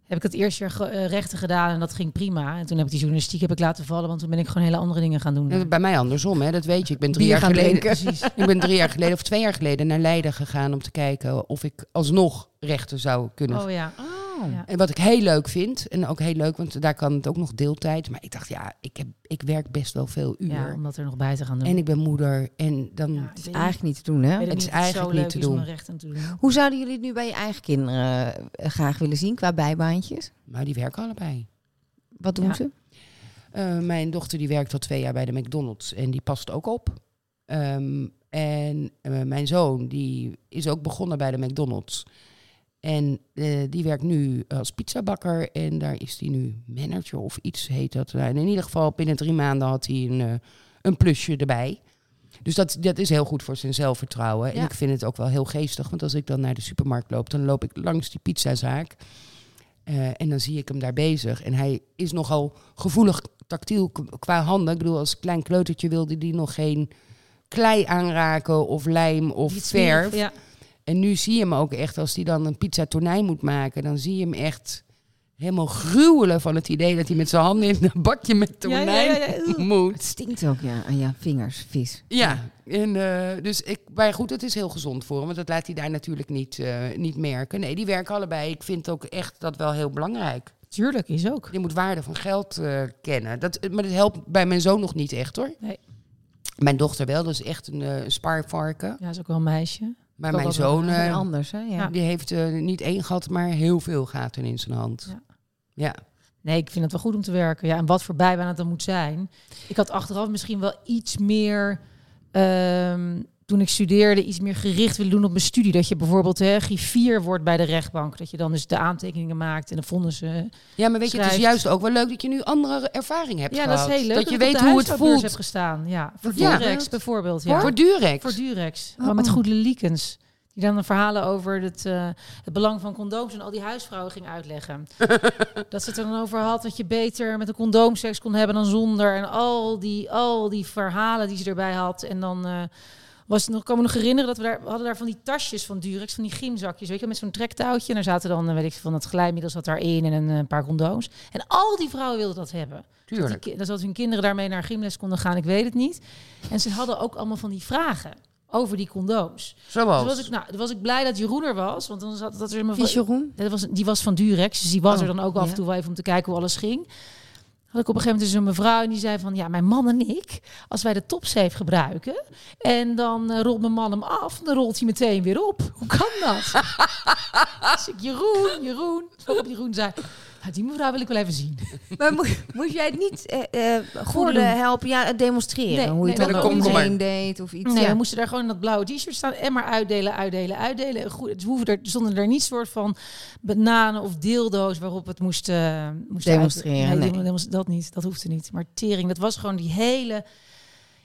heb ik het eerste jaar ge- eh, rechten gedaan en dat ging prima. En toen heb ik die journalistiek heb ik laten vallen, want toen ben ik gewoon hele andere dingen gaan doen.
Ja, Bij mij andersom, hè. dat weet je. Ik ben drie,
Bier
jaar
gaan
geleden,
drinken.
precies. ik ben drie jaar geleden of twee jaar geleden naar Leiden gegaan om te kijken of ik alsnog rechten zou kunnen.
Oh ja. Ja.
En wat ik heel leuk vind, en ook heel leuk, want daar kan het ook nog deeltijd. Maar ik dacht, ja, ik, heb, ik werk best wel veel uur.
ja, om dat er nog bij te gaan doen.
En ik ben moeder. En dan,
Ja, ik
Het
weet
is
niet-
eigenlijk niet te doen, hè?
weet
het is
of zo
eigenlijk niet
leuk
te
is om
doen.
er rechten te doen.
Hoe zouden jullie het nu bij je eigen kinderen eh, graag willen zien qua bijbaantjes?
maar die werken allebei.
Wat doen
Ja.
ze?
Eh, mijn dochter die werkt al twee jaar bij de McDonald's en die past ook op. Ehm, en eh, mijn zoon die is ook begonnen bij de McDonald's. En eh, die werkt nu als pizzabakker en daar is hij nu manager of iets heet dat. Nou, en in ieder geval binnen drie maanden had hij een, eh, een plusje erbij. Dus dat, dat is heel goed voor zijn zelfvertrouwen. En
Ja.
ik vind het ook wel heel geestig, want als ik dan naar de supermarkt loop, dan loop ik langs die pizzazaak. Eh, en dan zie ik hem daar bezig. En hij is nogal gevoelig tactiel k- qua handen. Ik bedoel, als klein kleutertje wilde die nog geen klei aanraken of lijm of
Iets
verf.
meer- Ja.
En nu zie je hem ook echt, als hij dan een pizza tonijn moet maken, dan zie je hem echt helemaal gruwelen van het idee dat hij met zijn handen in een bakje met
Ja, ja,
tonijn
ja, ja. Oeh.
moet.
Het stinkt ook ja, aan je vingers, vis.
Ja, en, eh, dus ik, maar goed, het is heel gezond voor hem, want dat laat hij daar natuurlijk niet, eh, niet merken. Nee, die werken allebei. Ik vind ook echt dat wel heel belangrijk.
Tuurlijk, is ook.
Je moet waarde van geld eh, kennen. Dat, maar dat helpt bij mijn zoon nog niet echt hoor.
Nee.
Mijn dochter wel, dat is echt een eh, spaarvarken.
Ja, is ook wel een meisje.
Maar
Wel
mijn
wat
zoon,
Dat is weer
eh,
anders, hè? Ja.
Ah.
die heeft eh, niet één gat, maar heel veel gaten in zijn hand.
Ja.
Ja.
Nee, ik vind het wel goed om te werken. Ja, en wat voor bijbaan het dan moet zijn. Ik had achteraf misschien wel iets meer, ehm, toen ik studeerde, iets meer gericht willen doen op mijn studie. Dat je bijvoorbeeld hè, griffier wordt bij de rechtbank. Dat je dan dus de aantekeningen maakt en de vonnissen.
Ja, maar weet je, het is
Schrijft.
juist ook wel leuk dat je nu andere ervaring hebt
Ja,
gehad.
dat is heel leuk.
Dat je
ik op de
weet hoe het
huishoudbeurs
voelt.
heb gestaan. Ja, voor
Ja.
Durex bijvoorbeeld. Ja.
Voor, Durex.
Voor Durex.
Oh.
Gewoon met goede liekens. Die dan de verhalen over het, eh, het belang van condooms en al die huisvrouwen ging uitleggen. dat ze het er dan over had dat je beter met een condoom seks kon hebben dan zonder. En al die, al die verhalen die ze erbij had. En dan eh, was het nog, kan me nog herinneren dat we daar we hadden daar van die tasjes van Durex, van die gymzakjes. Weet je, wel, met zo'n trektouwtje. En daar zaten dan, eh, weet ik, veel, van dat glijmiddel zat daarin en een eh, paar condooms. En al die vrouwen wilden dat hebben. Dat
Tuurlijk.
die ki- dat hun kinderen daarmee naar gymles konden gaan, ik weet het niet. En ze hadden ook allemaal van die vragen over die condooms.
Zoals.
Dus was ik, nou, toen was ik blij dat Jeroen er was, want dan zat dat er helemaal
Wie is Jeroen?
dat was, die was van Durex, dus die was
Oh,
er dan ook af
ja.
en toe wel even om te kijken hoe alles ging. Had ik op een gegeven moment dus een mevrouw en die zei van... ja, mijn man en ik, als wij de topsafe gebruiken... en dan eh, rolt mijn man hem af, dan rolt hij meteen weer op. Hoe kan dat? dus ik, Jeroen, Jeroen. Waarop Jeroen zei... Nou, die mevrouw wil ik wel even zien.
Maar moest, moest jij het niet eh eh,
doen.
goorden helpen? Ja, demonstreren.
Nee,
hoe je
nee,
het
dat
dan om
komt
je
maar.
heen deed of iets.
Nee,
ja.
we moesten daar gewoon in dat blauwe t-shirt staan en maar uitdelen, uitdelen, uitdelen. En Goed, het hoeven er, zonder er niet soort van bananen of deeldoos waarop het moest, eh, moest
Demonstreren,
uit-
nee.
demo- demos- dat niet, dat hoefde niet. Maar tering, dat was gewoon die hele,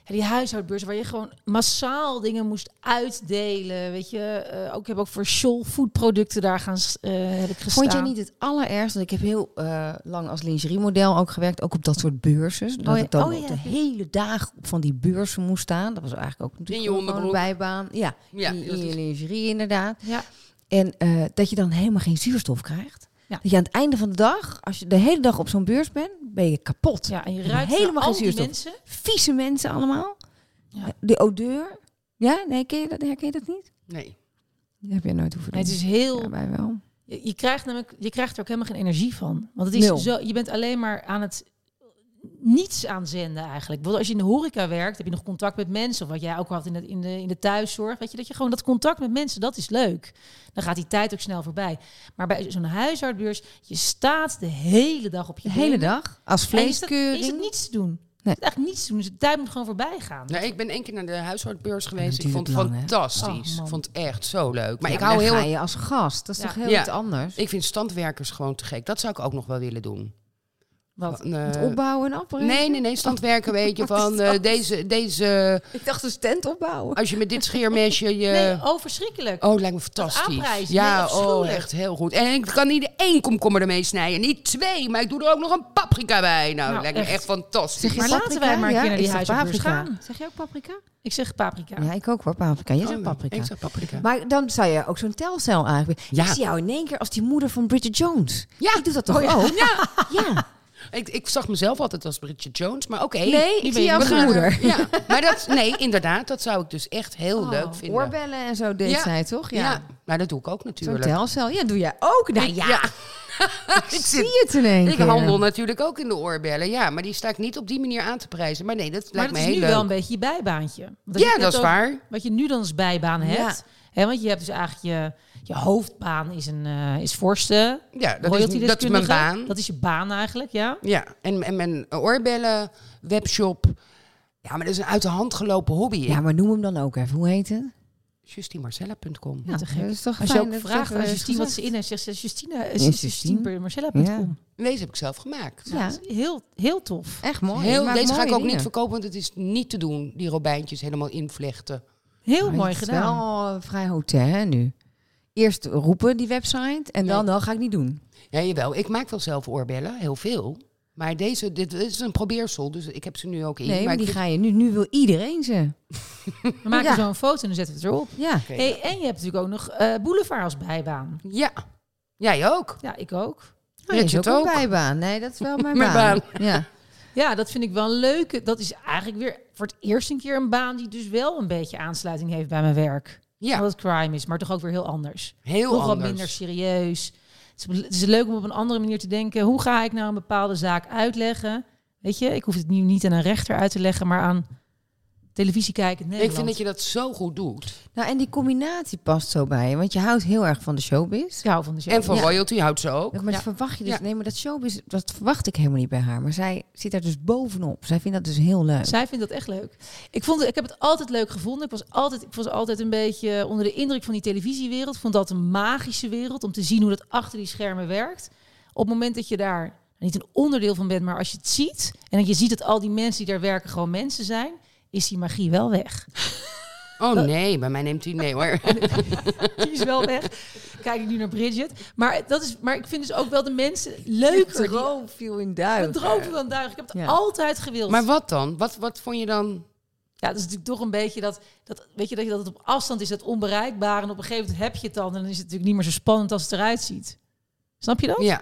ja, die huishoudbeurs waar je gewoon massaal dingen moest uitdelen. Weet je, Eh, ook ik heb ook voor Scholl foodproducten daar gaan, s- eh, heb ik gestaan.
Vond jij niet het allerergst? Want ik heb heel eh, lang als lingeriemodel ook gewerkt, ook op dat soort beurzen. Dat
Oh ja,
ik dan
oh ja,
op de
ja.
hele dag op van die beurzen moest staan. Dat was eigenlijk ook natuurlijk
je
gewoon
onderbroek.
een bijbaan. Ja,
Ja,
in, in
dat
je
is-
lingerie inderdaad.
Ja.
En eh, dat je dan helemaal geen zuurstof krijgt.
Ja.
Dat je aan het einde van de dag, als je de hele dag op zo'n beurs bent, ben je kapot.
Ja, en je ruikt
Helemaal
helemaal
geen
al die
zuurstof.
mensen.
Vieze mensen allemaal. Eh,
Ja.
De odeur. Ja, nee, ken je dat, herken je dat niet?
Nee.
Dat heb je nooit hoeven doen.
Nee, het is heel
Ja, wij wel.
Je, je krijgt namelijk, je krijgt er ook helemaal geen energie van. Want het is
Nul.
zo, je bent alleen maar aan het niets aan zenden eigenlijk. Bijvoorbeeld als je in de horeca werkt, heb je nog contact met mensen. Of wat jij ook had in de, in de, in de thuiszorg. Weet je, dat je gewoon dat contact met mensen, dat is leuk. Dan gaat die tijd ook snel voorbij. Maar bij zo'n huishoudbeurs, je staat de hele dag op je
De hele
benen.
dag. Als
En is, dat,
vleeskeuring.
is het niets te doen.
Nee.
Is eigenlijk niets te doen. Dus de tijd moet gewoon voorbij gaan.
Nou, ik ben één keer naar de huishoudbeurs geweest. Ik
duurt
vond het
lang, hè?
fantastisch.
Oh, man.
Ik vond het echt zo leuk. Maar
Ja,
ik hou
dan
heel
ga je als gast. Dat is
Ja.
toch heel
Ja.
iets anders.
Ik vind standwerkers gewoon te gek. Dat zou ik ook nog wel willen doen.
Wat?
Eh,
Het opbouwen en apparaat.
nee, nee, nee. Standwerken weet je
Wat is
van eh,
dat?
deze, deze.
Ik dacht een stand opbouwen.
Als je met dit scheermesje je.
Nee, oh, verschrikkelijk.
eh, Oh, lijkt me fantastisch.
aanprijzen,
ja,
nee,
oh,
afschuwelijk.
echt heel goed. En ik kan niet één komkommer ermee snijden. Niet twee, maar ik doe er ook nog een paprika bij. Nou,
Nou,
lijkt me
echt.
echt fantastisch.
Maar laten wij maar een keer naar die huishoudbeurs gaan.
Zeg jij ook paprika?
Ik zeg paprika.
Ja, ik ook hoor, paprika. Jij zegt
Oh,
paprika.
Ik zeg paprika.
Maar dan zou je ook zo'n telcel eigenlijk...
Ja.
Ik zie jou in één keer als die moeder van Bridget Jones.
Ja.
Ik doe dat toch ook? Ja. ja.
Ik, ik zag mezelf altijd als Bridget Jones, maar oké.
Nee,
ben
ik zie
je
jou als
we gaan
moeder. Oh,
er- Ja, maar dat, nee, inderdaad, dat zou ik dus echt heel leuk vinden.
Oorbellen en zo deed
Ja.
zij toch?
Ja.
Ja.
maar dat doe ik ook
Zo'n
natuurlijk.
telcel. Ja, doe jij ook. Nou ja,
Ja.
ik
zit-
zie het in één
Ik
keer. eh,
handel natuurlijk ook in de oorbellen, ja, maar die sta ik niet op die manier aan te prijzen. Maar nee, dat
Maar
lijkt
dat
me
is nu
heel leuk.
wel een beetje je bijbaantje. Want als je
ja,
het
dat is
ook-
waar.
wat je nu dan als bijbaan hebt. Hè, want je hebt dus eigenlijk je, je hoofdbaan is, een, eh is vorsten.
Ja, dat is,
royalty-deskundige.
dat is mijn baan.
Dat is je baan eigenlijk, ja.
Ja, en, en mijn oorbellen, webshop. Ja, maar dat is een uit de hand gelopen hobby.
Ja,
Ja.
maar noem hem dan ook even. Hoe heet het?
JustieMarcella.com.
Ja,
te gek.
dat is toch
Als je
fijn
ook
dat eh, het
vraagt
even
aan
is
Justine wat ze
gezegd.
in heeft, zegt ze Justine, eh,
Is
Justine,
Justine?
bij Marcella.com.
Ja.
Deze heb ik zelf gemaakt.
Ja,
Dat is Heel, heel tof.
echt mooi. Je
Heel,
maakt
deze ga
mooie
ik ook
dingen.
niet verkopen, want het is niet te doen. Die robijntjes helemaal invlechten.
Heel
Maar
mooi
het is
gedaan.
wel eh, vrij hotel hè, nu. Eerst roepen die website en dan, dan ga ik niet doen.
Ja, jawel. Ik maak wel zelf oorbellen, heel veel. Maar deze, dit is een probeersel, dus ik heb ze nu ook in.
Nee,
maar
maar die
ik-
ga je nu. Nu wil iedereen ze.
We maken
Ja.
zo een foto en dan zetten we het erop.
Ja.
Oké.
Hey, en je hebt natuurlijk ook nog eh, Boulevard als bijbaan.
Ja, jij ook.
Ja, ik ook.
Oh,
je
je is
het
ook een
ook.
bijbaan. Nee, dat is wel mijn,
Mijn
baan. Ja.
Ja, dat vind ik wel een leuke. Dat is eigenlijk weer voor het eerst een keer een baan die dus wel een beetje aansluiting heeft bij mijn werk.
Oh,
Ja,
Omdat het crime is, maar toch ook weer heel anders.
heel
Toch wat
anders.
minder serieus. Het is, het is leuk om op een andere manier te denken. Hoe ga ik nou een bepaalde zaak uitleggen? Weet je, ik hoef het nu niet aan een rechter uit te leggen, maar aan televisie kijken.
ik vind dat je dat zo goed doet.
Nou, en die combinatie past zo bij je. Want je houdt heel erg van de showbiz.
Ik hou van de show.
En van
Ja.
royalty houdt ze ook.
Maar dat
Ja.
verwacht je dus.
Ja.
Nee, maar dat showbiz, dat verwacht ik helemaal niet bij haar. Maar zij zit daar dus bovenop. Zij vindt dat dus heel leuk.
Zij vindt dat echt leuk. Ik, vond, het- ik heb het altijd leuk gevonden. Ik was altijd, ik was altijd een beetje onder de indruk van die televisiewereld. Ik vond dat een magische wereld om te zien hoe dat achter die schermen werkt. Op het moment dat je daar niet een onderdeel van bent, maar als je het ziet en dat je ziet dat al die mensen die daar werken gewoon mensen zijn, is die magie wel weg.
Oh nee, bij mij neemt hij nee hoor.
Die is wel weg. Kijk ik nu naar Bridget. Maar, dat is, maar ik vind dus ook wel de mensen leuker. Die,
viel in
een
duik.
droom van duig. Ik heb het
Ja.
altijd gewild.
Maar wat dan? Wat, wat vond je dan?
Ja, dat is natuurlijk toch een beetje dat, dat weet je, dat, je, dat het op afstand is, dat onbereikbaar. En op een gegeven moment heb je het dan. En dan is het natuurlijk niet meer zo spannend als het eruit ziet. Snap je dat?
Ja,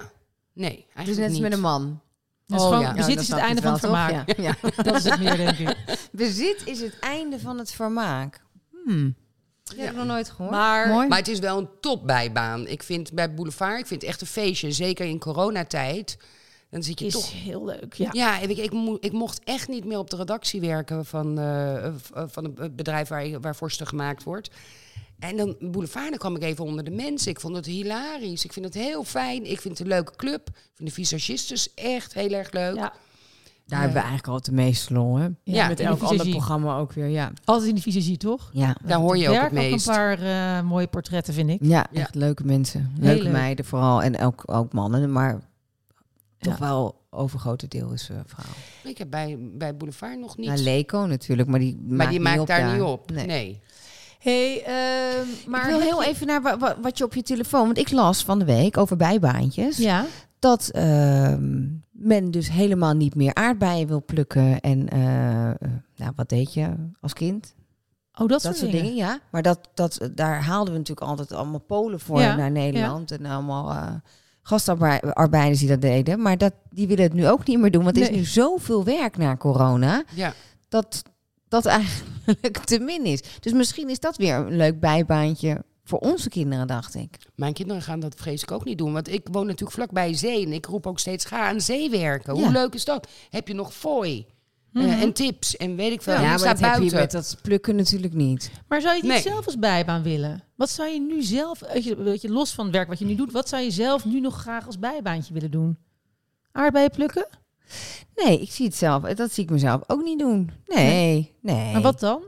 nee,
Het is
eigenlijk
net als
niet.
met een man.
Dat is
Oh,
gewoon,
ja.
Bezit
dan
is
snap
het
je
einde van het
wel, toch?
vermaak.
Ja. Ja.
Dat is het meer, denk ik.
Bezit is het einde van het vermaak. Hmm. Dat heb ik nog nooit gehoord.
Maar-
Mooi.
Maar het is wel een topbijbaan. Ik vind bij Boulevard, ik vind het echt een feestje. Zeker in coronatijd. Dan zit je
Is
toch...
heel leuk, ja.
Ja, en ik, ik, mo- ik mocht echt niet meer op de redactie werken van, eh, eh, van het bedrijf waar, je- waar Forster gemaakt wordt. En dan Boulevard, dan kwam ik even onder de mensen. Ik vond het hilarisch. Ik vind het heel fijn. Ik vind het een leuke club. Ik vind de visagistes echt heel erg leuk.
Ja.
Daar hebben we eigenlijk altijd de meeste lol, hè?
Ja,
met
In
elk
elk ander
ander
programma ook weer, ja.
Altijd in de visagie, toch?
Ja,
Daar hoor je ook het
Werk ook een
meest.
paar eh, mooie portretten, vind ik.
ja
Ja.
echt leuke mensen. Leuke
leuk.
meiden vooral. En ook, ook mannen, maar
Ja.
toch wel overgrote deel is eh vrouw.
Ik heb bij, bij Boulevard nog niet.
Ja, Leco natuurlijk, maar die
maar
Nou, maakt,
die maakt
niet op
daar niet op.
Nee.
Nee.
Hey, ehm, maar
ik wil heel even naar wa- wa- wat je op je telefoon... Want ik las van de week over bijbaantjes...
Ja.
dat ehm, men dus helemaal niet meer aardbeien wil plukken. En eh, eh, nou, wat deed je als kind?
Oh, dat,
dat soort dingen, ja. Maar dat, dat, daar haalden we natuurlijk altijd allemaal Polen voor
Ja,
naar Nederland. En allemaal eh gastarbeiders die dat deden. Maar dat, die willen het nu ook niet meer doen. Want er
Nee.
is nu zoveel werk na corona.
Ja.
Dat dat eigenlijk te min is. Dus misschien is dat weer een leuk bijbaantje voor onze kinderen, dacht ik.
Mijn kinderen gaan dat vrees ik ook niet doen. Want ik woon natuurlijk vlakbij zee. En ik roep ook steeds, ga aan zee werken.
Ja.
Hoe leuk is dat? Heb je nog fooi? Eh,
Mhm.
en tips? En weet ik veel.
Ja,
En ik
maar
sta
dat heb je
buiten.
met dat plukken natuurlijk niet.
Maar zou je het niet
Nee.
zelf als bijbaan willen? Wat zou je nu zelf, weet je, weet je, los van het werk wat je nu doet, wat zou je zelf nu nog graag als bijbaantje willen doen? Aardbeien plukken?
Nee, ik zie het zelf. Dat zie ik mezelf ook niet doen. Nee, nee.
Maar wat dan?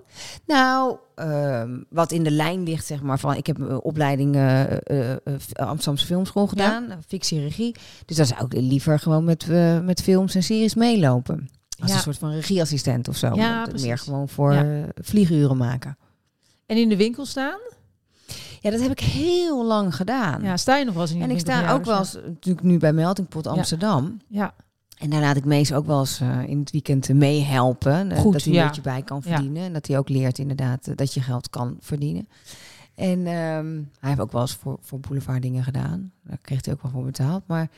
Nou, ehm, wat in de lijn ligt, zeg maar, van ik heb een opleiding eh eh, eh, f- Amsterdamse Filmschool gedaan, fictie regie. Dus dan zou ik liever gewoon met, eh, met films en series meelopen. Als
Ja.
een soort van regieassistent of zo.
Ja,
Want Meer
precies.
gewoon voor
Ja.
eh, vlieguren maken.
En in de winkel staan?
Ja, dat heb ik heel lang gedaan.
Ja, sta je nog wel eens in de
en ik
winkel
sta
van je
ook wel
ouders,
eens, natuurlijk nu bij Meltingpot Amsterdam.
Ja.
En daar laat ik Mees ook wel eens eh, in het weekend meehelpen. eh,
Goed,
dat hij
ja.
een beetje bij kan
Ja.
verdienen. En dat hij ook leert inderdaad eh, dat je geld kan verdienen. En ehm, hij heeft ook wel eens voor, voor boulevard dingen gedaan. Daar kreeg hij ook wel voor betaald. Maar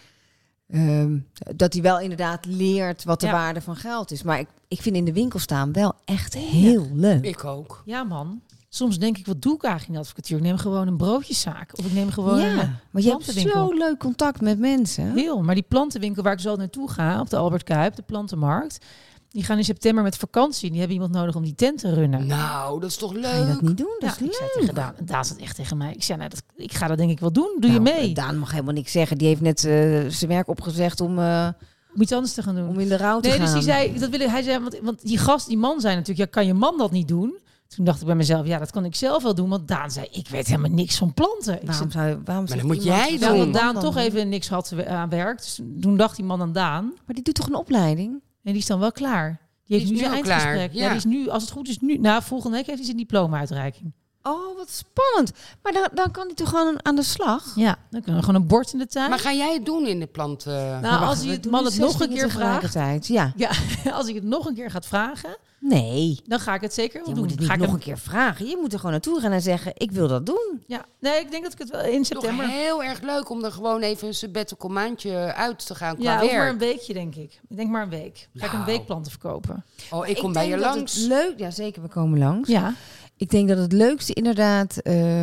ehm, dat hij wel inderdaad leert wat de
Ja.
waarde van geld is. Maar ik, ik vind in de winkel staan wel echt heel leuk.
Ik ook.
Ja, man. Soms denk ik, wat doe ik eigenlijk in de advocatuur? Ik neem gewoon een broodjeszaak. Of ik neem gewoon een eh,
ja, maar je hebt
plantenwinkel.
zo leuk contact met mensen.
Heel, maar die plantenwinkel waar ik zo naartoe ga, op de Albert Kuip, de plantenmarkt, die gaan in september met vakantie. Die hebben iemand nodig om die tent te runnen.
Nou, dat is toch
Ga je
leuk?
dat niet doen? Dat
ja,
is
ik
leuk.
zei tegen Daan, en Daan zat echt tegen mij. Ik zei, nou, dat, ik ga dat denk ik wel doen. Doe je
Nou,
mee?
Daan mag helemaal niks zeggen. Die heeft net eh, zijn werk opgezegd om, eh,
Om iets anders te gaan doen.
om in de rouw te
nee,
gaan.
dus die zei, dat wil ik, hij zei, want, want die gast, die man zei natuurlijk, ja, kan je man dat niet doen? Toen dacht ik bij mezelf, ja, dat kan ik zelf wel doen. Want Daan zei, ik weet helemaal niks van planten. Ik zei,
Waarom zou je, waarom
Maar
zegt
dan moet
iemand-
jij
nou,
doen.
omdat Daan toch even niks had eh, aan werk. Dus toen dacht die man aan Daan.
Maar die doet toch een opleiding?
En die is dan wel klaar. Die heeft
is
nu
nu
zijn
al klaar,
eindgesprek. Ja.
ja.
die is nu, als het goed is, nu, na volgende week heeft hij zijn diploma-uitreiking.
Oh, wat spannend. Maar dan, dan kan die toch gewoon aan de slag?
Ja, dan kunnen we gewoon een bord in de tuin.
Maar ga jij het doen in de plant? eh?
nou, als hij het man het nog een keer vraagt,
Tegelijkertijd. Ja.
ja, als ik het nog een keer gaat vragen,
Nee.
dan ga ik het zeker wel
Je
doen.
moet het niet
ga ik
nog
hem-
een keer vragen. Je moet er gewoon naartoe gaan en zeggen, ik wil dat doen.
Ja, nee, ik denk dat ik het wel in
toch
september.
heel erg leuk om er gewoon even een sabbatical maandje uit te gaan qua
Ja, ook
werk.
maar een weekje denk ik. Ik denk maar een week. Ga ik een
Nou.
week planten verkopen.
Oh, ik kom
denk
bij je
dat
langs.
het Leuk, ja zeker, we komen langs.
Ja.
Ik denk dat het leukste inderdaad eh,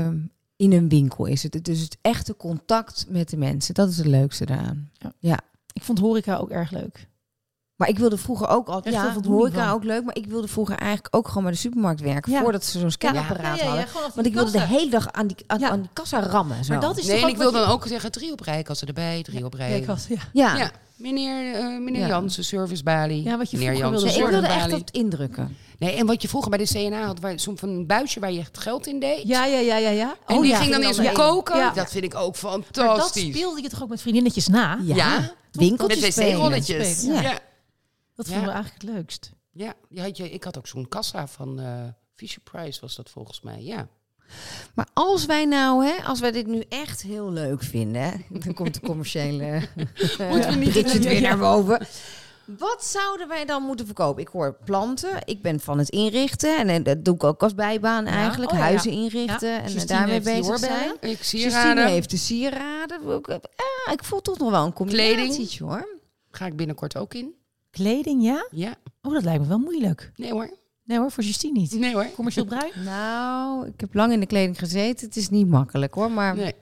in een winkel is. Het, dus het echte contact met de mensen. Dat is het leukste daaraan.
Ik vond horeca ook erg leuk.
Maar ik wilde vroeger ook altijd...
Echt wel
Ja,
voldoening
horeca
van.
ook leuk. Maar ik wilde vroeger eigenlijk ook gewoon bij de supermarkt werken.
Ja.
Voordat ze zo'n scanapparaat hadden. Want ik wilde de hele dag aan die, aan,
Ja.
aan die kassa rammen. Zo.
Maar dat is
Nee, en
toch
ik
ook
wil
wat je-
dan ook zeggen drie op rij, als ze erbij, drie op rij.
Ja, ik was, ja.
Ja.
Ja, meneer, eh meneer
Ja.
Jansen, servicebalie.
Ja, wat je
meneer
vroeger
Nee,
wilde
ik wilde echt
servicebalie.
op het indrukken.
Nee, en wat je vroeger bij de CNA had, waar, soms van een buisje waar je het geld in deed.
ja, ja, ja, ja, ja.
En
Oh,
die
ja.
ging dan in zo'n
Ja.
koken.
Ja.
Dat vind ik ook
Maar dat
fantastisch.
speelde je toch ook met vriendinnetjes na?
Ja.
Ja.
Winkeltjes
Met
spelen.
wc-rolletjes.
Ja.
Ja. Ja.
Dat
Ja.
vonden we eigenlijk het leukst.
die had je, ik had ook zo'n kassa van eh Fisher Price, was dat volgens mij. Ja.
Maar als wij nou, hè, als wij dit nu echt heel leuk vinden, hè, dan komt de commerciële eh,
Moeten we niet
Bridget
in-
weer naar boven. Wat zouden wij dan moeten verkopen? Ik hoor planten, ik ben van het inrichten en, eh, dat doe ik ook als bijbaan eigenlijk.
oh ja, ja.
Huizen inrichten
Ja.
en eh,
Justine
daarmee
heeft die
bezig
oorbellen.
zijn.
Ik zie
Justine
raden.
heeft de sieraden. Ook, eh, ah, ik voel toch nog wel een
Kleding.
combinatie hoor.
Ga ik binnenkort ook in?
Kleding, ja?
Ja.
Oh, dat lijkt me wel moeilijk.
Nee hoor.
Nee hoor, voor Justine niet.
Nee hoor.
Commercieel bruin?
Nou, ik heb lang in de kleding gezeten. Het is niet makkelijk hoor, maar...
Nee,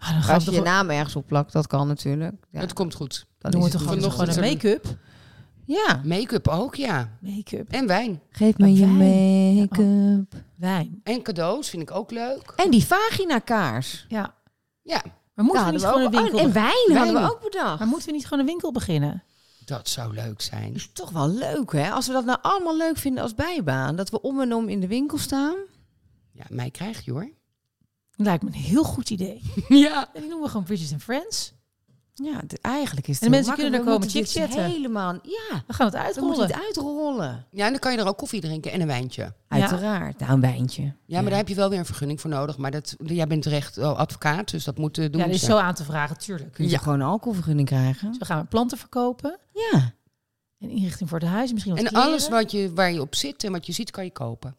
Ah, dan gaan
Als
we
je
toch
je naam ergens op plakt, dat kan natuurlijk. Ja,
het komt goed.
dan
doen we
is
toch
het
gewoon
goed.
vanochtend
gewoon een make-up?
Ja,
Make-up ook, ja.
Make-up.
En wijn.
Geef me je
Wijn.
make-up.
Wijn.
En cadeaus vind ik ook leuk.
en die vaginakaars.
Ja.
Ja,
Maar moeten we
Daar
niet
hadden
gewoon een winkel...
we ook- oh, en wijn, hadden
Wijn.
we ook bedacht.
Maar moeten we niet gewoon een winkel beginnen?
dat zou leuk zijn.
is toch wel leuk, hè? Als we dat nou allemaal leuk vinden als bijbaan. Dat we om en om in de winkel staan.
Ja, mij krijg je hoor.
Lijkt me een heel goed idee.
Ja.
En die noemen we gewoon Bridges and Friends.
Ja, d- eigenlijk is het
En de
heel
mensen kunnen
makkelijk.
er
We
komen
moeten
chick
dit
chatten.
Helemaal, ja.
We gaan het
We moeten
uitrollen.
het uitrollen.
Ja, en dan kan je er ook koffie drinken en een wijntje.
Uiteraard. Nou, een wijntje.
Ja, maar daar heb je wel weer een vergunning voor nodig. Maar dat, jij bent recht oh, advocaat, dus dat moet eh, doen.
Ja, dat is
ze.
zo aan te vragen, tuurlijk.
Kun je gewoon een alcoholvergunning krijgen?
Dus we gaan planten verkopen.
Ja.
En inrichting voor het huis. Misschien wat
En
kleren.
alles wat je, waar je op zit en wat je ziet, kan je kopen.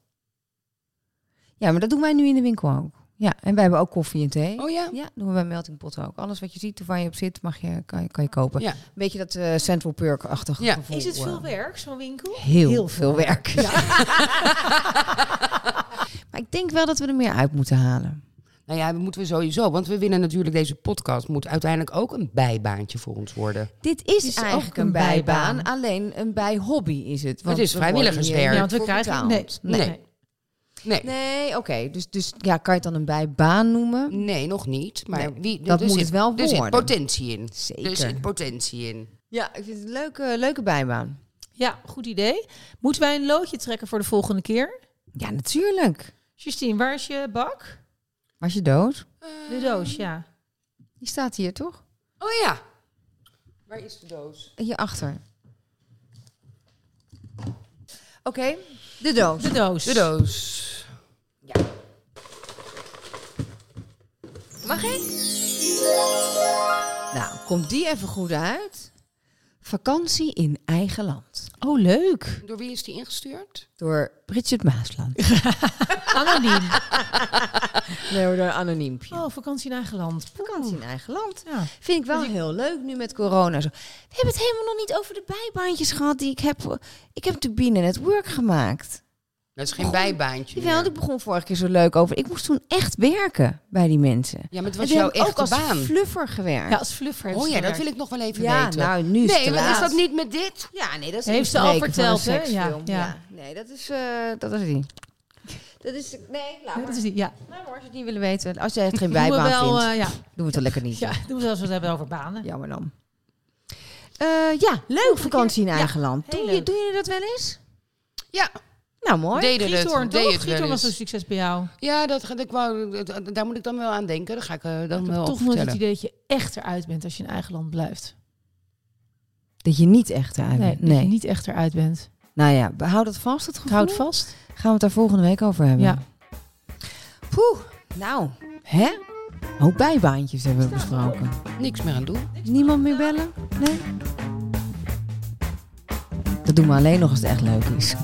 Ja, maar dat doen wij nu in de winkel ook. Ja, en wij hebben ook koffie en thee.
Oh ja?
Ja, doen we bij Melting Pot ook. Alles wat je ziet, waar je op zit, mag je, kan, je, kan je kopen.
Ja.
Beetje dat eh, Central Perk-achtige
Ja.
gevoel.
Is het veel
eh.
werk, zo'n winkel?
Heel,
Heel
veel werk. maar ik denk wel dat we er meer uit moeten halen.
Nou ja, dat moeten we sowieso. Want we winnen natuurlijk deze podcast. Moet uiteindelijk ook een bijbaantje voor ons worden.
Dit is,
is
eigenlijk
ook een
een bijbaan,
bijbaan.
alleen een bijhobby is het. want
Het is
we worden
vrijwilligerswerk.
hier
Ja,
want we
voor
krijgen...
betaald.
Nee,
Nee. Nee. Nee,
Nee, oké. Dus, dus ja, kan je het dan een bijbaan noemen?
nog niet. Maar
Nee,
wie,
dat
er
moet
zit,
het wel
Er zit
worden.
potentie in.
Zeker.
Er zit potentie in.
Ja, ik vind het een leuke, leuke bijbaan.
Ja, goed idee. Moeten wij een loodje trekken voor de volgende keer?
Ja, natuurlijk.
Justine, waar is je bak?
Was je dood?
De doos, ja.
Die staat hier, toch?
Oh ja. Waar is de doos?
Hierachter. Oké, de doos.
De doos.
De doos.
Mag ik? Nou, komt die even goed uit. Vakantie in eigen land.
Oh, leuk.
Door wie is die ingestuurd?
Door Bridget Maasland.
Anoniem.
nee hoor, door een anoniempje.
Oh, vakantie in eigen land.
vakantie in eigen land.
Ja.
Vind ik wel heel leuk nu met corona. Zo. We hebben het helemaal nog niet over de bijbaantjes gehad die ik heb. eh, Ik heb natuurlijk binnen het work gemaakt.
Dat is geen bijbaantje.
Oh. Jawel, want
meer.
ik begon vorige keer zo leuk over. Ik moest toen echt werken bij die mensen.
Ja, maar het
En
was
toen
jouw
heb ik ook
echte
als
baan.
fluffer gewerkt.
ja, als fluffer heeft
Oh
ze
ja, dat
gewerkt.
wil ik nog wel even
Ja,
weten.
nou nu is het
nee,
te
wat is
laat.
dat niet met dit?
Ja, nee, dat is
Heeft
een
ze al
spreken van
verteld,
een
hè? Ja,
seksfilm.
ja.
Nee, dat is, eh, dat is die. Dat is, nee,
Ja,
laat maar.
dat is die, ja.
Laat maar als je het niet willen weten. Als jij het geen
Doen we
bijbaan
wel,
vindt,
eh, ja.
doen we het dan lekker niet.
ja, doen we zelfs wat hebben over banen.
Jammer dan. Eh, ja, leuk vakantie in
keer.
eigen land.
heel
Doen,
leuk.
je, doen jullie dat wel eens?
Ja,
Nou, mooi.
deden het.
Giethoorn,
deden
toch?
het wel
Giethoorn was een
eens.
succes bij jou.
Ja, dat, ga- ik wou, dat- daar moet ik dan wel aan denken. Daar ga ik eh, dan
Ik
wel
heb
over
toch nooit het
vertellen.
idee dat je echt eruit bent als je in eigen land blijft.
Dat je niet echt uit
Nee,
bent.
dat
Nee.
je niet echt eruit bent.
Nou ja, hou dat vast, het
Het
gevoel.
houdt vast.
Gaan we het daar volgende week over hebben.
Ja.
Poeh, nou, hè? Ook bijbaantjes hebben we besproken.
Niks meer aan doen.
Niemand meer bellen? Nee? Dat doen we alleen nog als het echt leuk is.